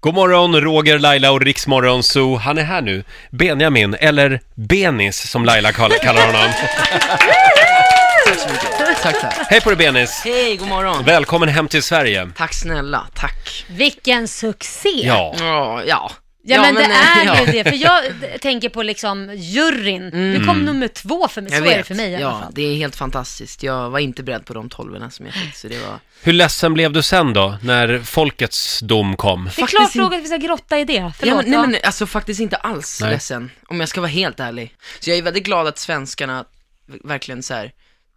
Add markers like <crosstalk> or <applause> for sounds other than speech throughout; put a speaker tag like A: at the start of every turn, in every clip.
A: God morgon, Roger, Laila och Riksmorgon Zoo. Han är här nu. Benjamin, eller Benis som Laila kallar kallar honom.
B: <laughs> Tack, tack.
A: Hej på dig Benis!
B: Hej, god morgon.
A: Välkommen hem till Sverige.
B: Tack snälla, tack.
C: Vilken succé!
A: Ja.
B: Ja, ja. eh,
C: Ja, men det är
B: ja. Mm.
C: ju det, för
B: <laughs>
C: jag <laughs> d- tänker på liksom juryn. Du kom nummer två för mig, så
B: Jag
C: är
B: vet.
C: det för mig i alla
B: Ja,
C: fall.
B: det är helt fantastiskt. Jag var inte beredd på de tolvorna som jag fick, så det var...
A: Hur ledsen blev du sen då, när folkets dom kom?
C: Det är
B: faktiskt
C: klart
B: inte-
C: fråga att vi ska grotta i det.
B: Ja,
C: Förlåt,
B: men, nej,
C: va?
B: men alltså faktiskt inte alls
A: Nej.
B: ledsen, om jag ska vara helt ärlig. Så jag är väldigt glad att svenskarna verkligen så här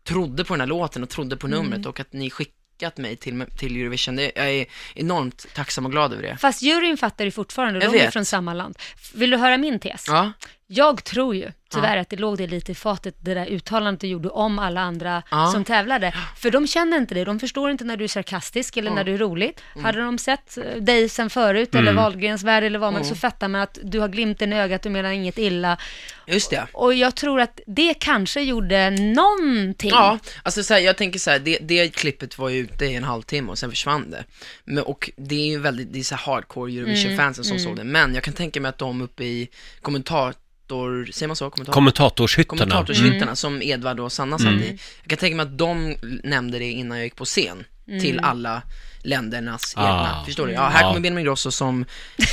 B: trodde på den här låten och trodde
C: Mm.
B: på numret och att ni skickat mig till, till Eurovision. Det, jag är enormt tacksam och glad över det.
C: Fast juryn fattar ju fortfarande,
B: Jag
C: de är
B: vet.
C: från samma land. F- Vill du höra min tes?
B: Ja,
C: Jag tror ju tyvärr att det låg det lite i fatet, det där uttalandet du gjorde om alla andra
B: Ja.
C: som tävlade. För de känner inte det, de förstår inte när du är sarkastisk eller när du är rolig.
B: Mm.
C: Hade de sett eh, dig sen förut eller Wahlgrens värld eller vad man
B: Mm.
C: så fattar man att du har glimten i ögat, du menar inget illa.
B: just det.
C: Och jag tror att det kanske gjorde någonting.
B: Ja, alltså så här, jag tänker så här, det, det klippet var ju ute i en halvtimme och sen försvann det. Men, och det är ju väldigt, det är så här hardcore Eurovision-fansen som såg det, men jag kan tänka mig att de uppe i kommentator, säger man så? Kommentator?
A: Kommentatorshyttarna.
C: Mm.
B: kommentatorshyttarna som Edvard och Sanna satt
A: Mm.
B: i. Jag kan tänka mig att de nämnde det innan jag gick på scen till
C: Mm.
B: alla ländernas egna.
A: Ah.
B: Förstår du? Ja, här
A: Ja.
B: kommer Benjamin Grosso som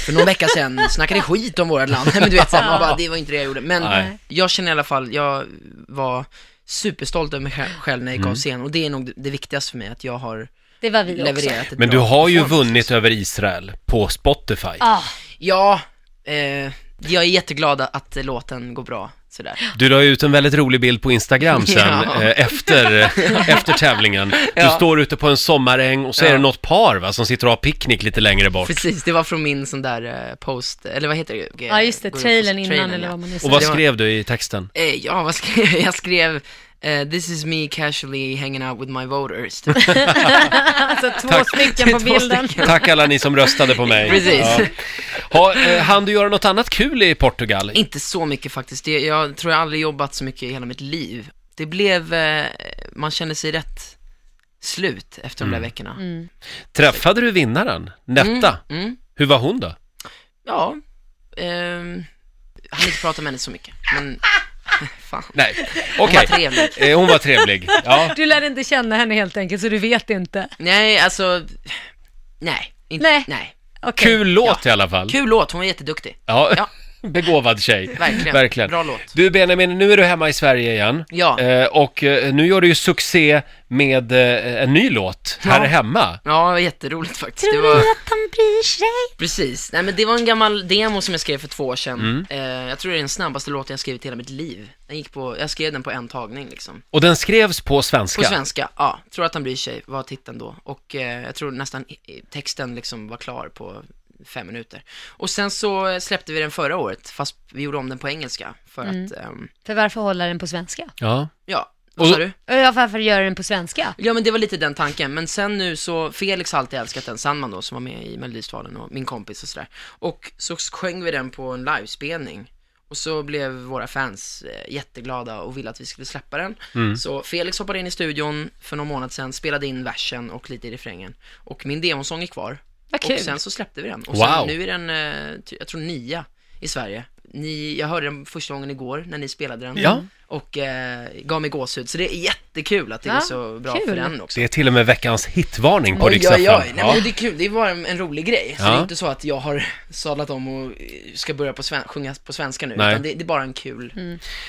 B: för någon vecka
C: <laughs>
B: sedan snackade skit om vårt land. <laughs> Nej, Men du vet, så här, man bara, det var inte det jag gjorde. Men
A: Nej.
B: jag känner i alla fall, jag var superstolt över mig sj- själv när jag gick
A: Mm.
B: av scen och det är nog det- det viktigaste för mig, att jag har
C: Det var vi också.
B: levererat ett
A: Men du
B: bra
A: har ju
B: performance.
A: vunnit över Israel på Spotify.
C: Ah,
B: Ja, eh, jag är jätteglad att eh, låten går bra. Sådär.
A: Du la ut en väldigt rolig bild på Instagram sen,
B: Ja.
A: eh, efter, efter tävlingen. Du står ute på en sommaräng och så är
B: Ja.
A: det något par va, som sitter och har picknick lite längre bort.
B: Precis, det var från min sån där eh, post, eller vad heter det?
C: ja, just det,
B: Går upp på
C: trailern innan
B: trailern,
C: eller
B: ja.
C: vad man nu
A: Och vad
B: Det var-
A: skrev du i texten?
B: Eh, ja, vad skrev jag? Jag skrev eh, This is me casually hanging out with my voters.
C: <laughs>
B: typ.
C: Alltså två stycken
B: Det är
C: på
B: två
C: bilden.
A: <laughs>
B: stycken.
A: Tack alla ni som röstade på mig.
B: Precis.
A: Ja. Ha, eh, hann du göra något annat kul i Portugal?
B: Inte så mycket faktiskt. Det, jag tror jag aldrig jobbat så mycket i hela mitt liv. Det blev, eh, man kände sig rätt slut efter de där veckorna.
C: Mm.
A: Träffade du vinnaren, Netta?
B: Mm.
A: Hur var hon då?
B: Ja, ehm, jag hann inte prata med henne så mycket.
C: <laughs>
B: Men, fan.
A: Nej,
B: Hon var
A: okej.
B: trevlig.
A: Eh, Hon var trevlig. Ja.
C: Du lärde inte känna henne helt enkelt, så du vet inte.
B: Nej, alltså, nej. Inte,
C: Nej.
B: nej.
C: Okej.
A: Kul låt i alla fall.
B: Kul låt, hon var jätteduktig.
A: Ja.
B: Ja.
A: <laughs> Begåvad tjej.
B: Verkligen.
A: Verkligen.
B: Bra låt.
A: Du Benjamin, nu är du hemma i Sverige igen.
B: Ja.
A: Eh, och eh, nu gör du ju succé med eh, en ny låt här
B: Ja.
A: hemma.
B: Ja, det var jätteroligt faktiskt.
C: Tror
B: det var...
C: ni att han bryr sig?
B: Precis, nej men det var en gammal demo som jag skrev för två år sedan. Eh, jag tror det är den snabbaste låten jag skrivit i hela mitt liv. Den gick på, jag skrev den på en tagning liksom.
A: Och den skrevs på svenska.
B: På svenska, ja. Tror att han bryr sig, var titeln då. Och eh, jag tror nästan i- i- texten liksom var klar på fem minuter. Och sen så släppte vi den förra året, fast vi gjorde om den på engelska. För att, ehm,
C: För varför hålla den på svenska?
A: Ja.
B: ja, vad
A: Och-
B: sa du?
C: Ja, varför göra den på svenska?
B: Ja men det var lite den tanken, men sen nu så, Felix har alltid älskat den, Sandman då, som var med i Melodifestivalen och min kompis och sådär. Och så sjöng vi den på en livespelning. Och så blev våra fans eh, jätteglada och ville att vi skulle släppa den. Så Felix hoppade in i studion för någon månad sedan, spelade in versen och lite i refrängen. Och min demosång är kvar.
C: Vad kul.
B: Och sen så släppte vi den. Och
A: Wow.
B: sen, nu är den, eh, ty- jag tror nia i Sverige. Ni, jag hörde den första gången igår när ni spelade den.
A: Ja.
B: Och eh, gav mig gåshud. Så det är jättekul att det
C: Ja,
B: går så bra
C: kul.
B: för den också.
A: Det är till och med veckans hitvarning på
B: Oj, oj,
A: riksdag
B: oj.
A: fem.
B: Nej,
A: Ja.
B: men det är kul, det är bara en, en rolig grej. Så
A: Ja.
B: det är inte så att jag har sadlat om och eh, ska börja på sven- sjunga på svenska nu,
A: Nej.
B: utan det, det är bara en kul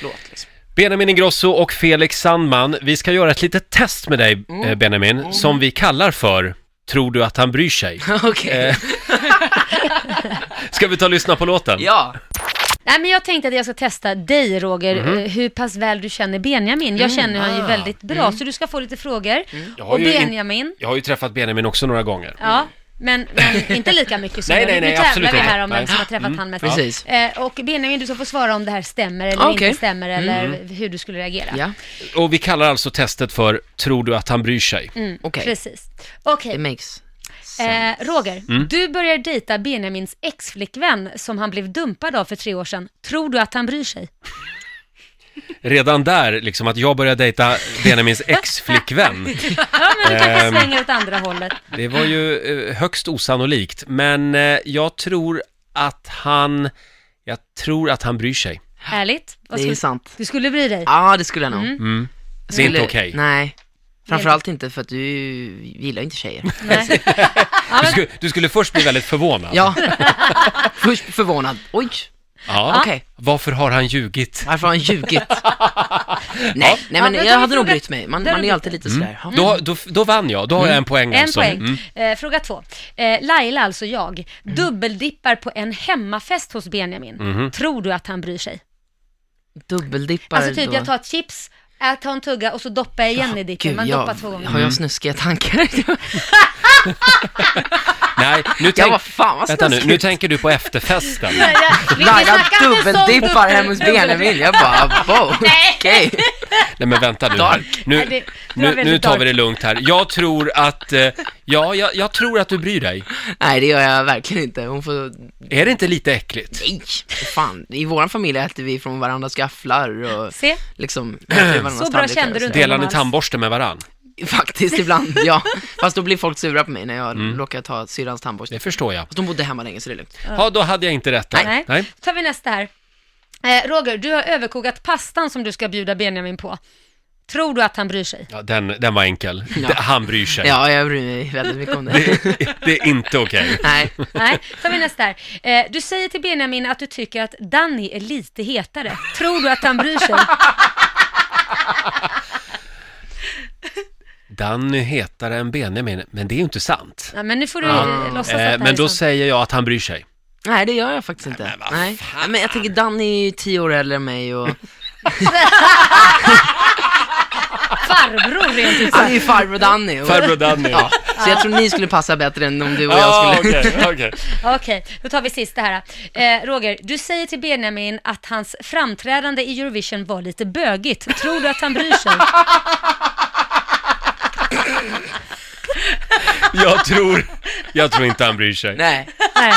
B: låt liksom. <laughs>
A: Benjamin Ingrosso och Felix Sandman, vi ska göra ett litet test med dig eh, Benjamin, som vi kallar för Tror du att han bryr sig?
B: Okej,
A: Ska vi ta och lyssna på låten?
B: ja.
C: Nej, men jag tänkte att jag ska testa dig Roger,
B: Mhm.
C: eh, hur pass väl du känner Benjamin. Jag
B: Mm.
C: känner honom
B: Ah.
C: ju väldigt bra, så du ska få lite frågor.
A: Jag har
C: Och
A: ju in-
C: Benjamin,
A: Jag har ju träffat Benjamin också några gånger.
C: ja. Men, men inte lika mycket som
A: Nej,
C: jag.
A: nej,
C: Nu
A: nej,
C: tävlar
A: absolut
C: vi
A: inte.
C: här om vem
A: Nej.
C: som har träffat han mest.
B: Precis.
C: Eh, och Benjamin, du ska få svara om det här stämmer eller
B: Ah,
C: inte
B: okej.
C: stämmer eller hur du skulle reagera.
B: ja.
A: Och vi kallar alltså testet för Tror du att han bryr sig?
C: Mm,
B: Okej.
C: Precis. Okej,
B: It makes sense.
C: Eh, Roger, du börjar dejta Benjamins ex-flickvän som han blev dumpad av för tre år sedan. Tror du att han bryr sig?
A: redan där, liksom att jag började
C: <laughs>
A: dejta Benjamins ex-flickvän.
C: Ja, men du kanske
A: Ehm.
C: svänger åt andra hållet.
A: Det var ju eh, högst osannolikt, men eh, jag tror att han, jag tror att han bryr sig.
C: Härligt. Vad
B: Det är
C: skulle,
B: sant.
C: du skulle bry dig?
B: Ja, det skulle jag nog.
A: Mm.
B: Jag
A: Det är inte
B: skulle-
A: okej.
B: Nej. Framförallt inte för att du gillar ju inte tjejer.
C: Nej. Ja,
A: Du
C: men,
A: skulle, du skulle först bli väldigt förvånad.
B: Ja. <laughs> Först förvånad. Oj,
A: Ja.
B: okej.
A: Varför har han ljugit?
B: Varför har han
C: <laughs>
B: ljugit? nej, nej men
C: men då
B: jag
C: har
B: hade
C: vi
B: nog
C: frågat-
B: brytt mig. Man,
C: där har
B: man
C: vi
B: är alltid lite sådär, "Ja,
A: Mm. Då, då, då vann jag, då har jag en poäng
C: en
A: alltså.
C: poäng.
A: Mm.
C: Eh, fråga två. Eh, Laila, alltså jag, dubbeldippar på en hemmafest hos Benjamin.
A: Mm. Mm-hmm.
C: Tror du att han bryr sig?
B: dubbeldippar
C: Alltså typ,
B: då.
C: jag tar ett chips, jag tar en tugga och så doppar jag igen i dippen.
B: Gud,
C: Man
B: jag,
C: doppar
B: <laughs>
C: två gånger.
B: Har
A: Mm.
B: jag snuskiga tankar? <laughs>
A: Nej, nu, tänk,
B: jag var fan vad
A: vänta nu,
B: snuskigt.
A: nu tänker du på efterfesten.
C: Ja, ja. Vi- vi
B: Laila
C: snackar alltså inte sånt
B: dubbeldippar
C: dubbel-
B: hemma hos
C: dubbel-
B: Benjamin. Jag bara, wow,
C: <laughs> Nej.
B: okej.
A: Nej men vänta nu här.
C: Nej,
A: Nu,
C: det- det var
A: nu, nu
C: väldigt
A: tar vi
C: dark.
A: det lugnt här. Jag tror att, eh, ja, jag, jag tror att du bryr dig.
B: Nej, det gör jag verkligen inte. Hon får,
A: Är det inte lite äckligt?
B: nej, fan. I våran familj äter vi från varandras gafflar
C: <laughs>
B: och
C: Se,
B: liksom äter varandras
C: Så bra
B: tallrikar
C: kände
B: och
C: du
B: så.
C: inte.
A: Delar ni
C: alls.
A: tandborste med varann?
B: <laughs> Faktiskt ibland, ja. Fast då blir folk sura på mig när jag
A: Mm.
B: råkar ta syrrans tandborste.
A: Det förstår jag.
B: Fast de bodde hemma länge så det är lugnt.
A: Ja, då hade jag inte rätt där.
C: nej.
A: Nej.
C: Då tar vi nästa här. Eh, Roger, du har överkokat pastan som du ska bjuda Benjamin på. Tror du att han bryr sig?
A: Ja, den, den var enkel.
B: Ja.
A: Det- Han bryr sig.
B: Ja, jag bryr mig väldigt mycket
A: <laughs>
B: om det.
A: Det, <laughs> det är inte okej.
B: Nej,
A: <laughs>
C: Nej, då tar vi nästa här. Eh, du säger till Benjamin att du tycker att Danny är lite hetare. Tror du att han
A: <laughs>
C: bryr sig?
A: Danny hetare än Benjamin, men det är ju inte sant.
C: Ja, men nu får du
A: Ja.
C: eh, låtsas att det
A: Eh,
C: här
A: men då
C: är sant.
A: säger jag att han bryr sig.
B: nej det gör jag faktiskt inte.
A: vad
B: Nej, Nej, men jag tänker Danny är ju tio år äldre än
A: <laughs>
B: mig och
C: Farbror rent ut
B: han är
C: sagt.
B: ju farbror Danny. Och...
A: Farbror Danny.
B: Ja, så jag tror ni skulle passa bättre än om du och jag
A: Ah,
B: skulle.
A: okej, okej.
C: Okej, då tar vi sista här. Eh, Roger, du säger till Benjamin att hans framträdande i Eurovision var lite bögigt. Tror du att han bryr sig?
A: <laughs> Jag tror, jag tror inte han bryr sig.
B: Nej,
C: Nej,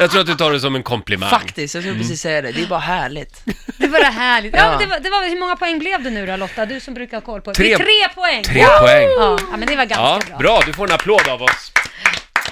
A: Jag tror att du tar det som en komplimang.
B: faktiskt, jag
A: Mm.
B: skulle precis säga det. Det är bara härligt.
C: det var det härligt. Ja,
B: Ja.
C: men det var, det var, hur många poäng blev det nu då Lotta? Du som brukar ha koll på det.
A: Tre-
C: Det är tre poäng!
A: Tre poäng.
C: Ja, ja, men det
A: Ja,
C: var ganska bra.
A: bra. Du får en applåd av oss.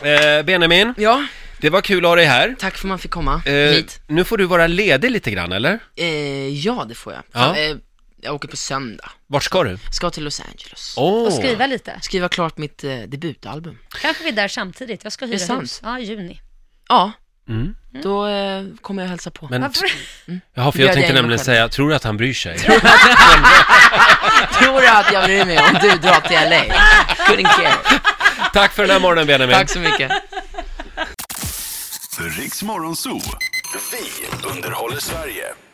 A: Eh, Benjamin,
B: Ja,
A: det var kul att ha dig här.
B: tack för att man fick komma
A: Eh,
B: hit.
A: nu får du vara ledig lite grann, eller?
B: Eh, ja, det får jag.
A: Ja.
B: Eh, jag åker på söndag.
A: Vart ska du?
B: Ska till Los Angeles.
A: Åh,
C: Och skriva lite.
B: Skriva klart mitt eh, debutalbum.
C: Kanske vi är där samtidigt. Jag ska
B: det
C: hyra
B: sant?
C: hus. Ja, i juni.
B: Ja,
A: Mm.
B: då eh, kommer jag hälsa på.
A: men...
C: Varför?
A: Jaha, för
B: Bjöd
A: jag
B: jag
A: tänkte
B: in mig
A: nämligen
B: själv?
A: säga, tror du att han bryr sig? <laughs>
B: Tror du att jag bryr mig om du drar till LA? Couldn't care.
A: Tack för den här morgonen, Benjamin.
B: Tack så mycket.
D: Riks Morgonzoo. Vi underhåller Sverige.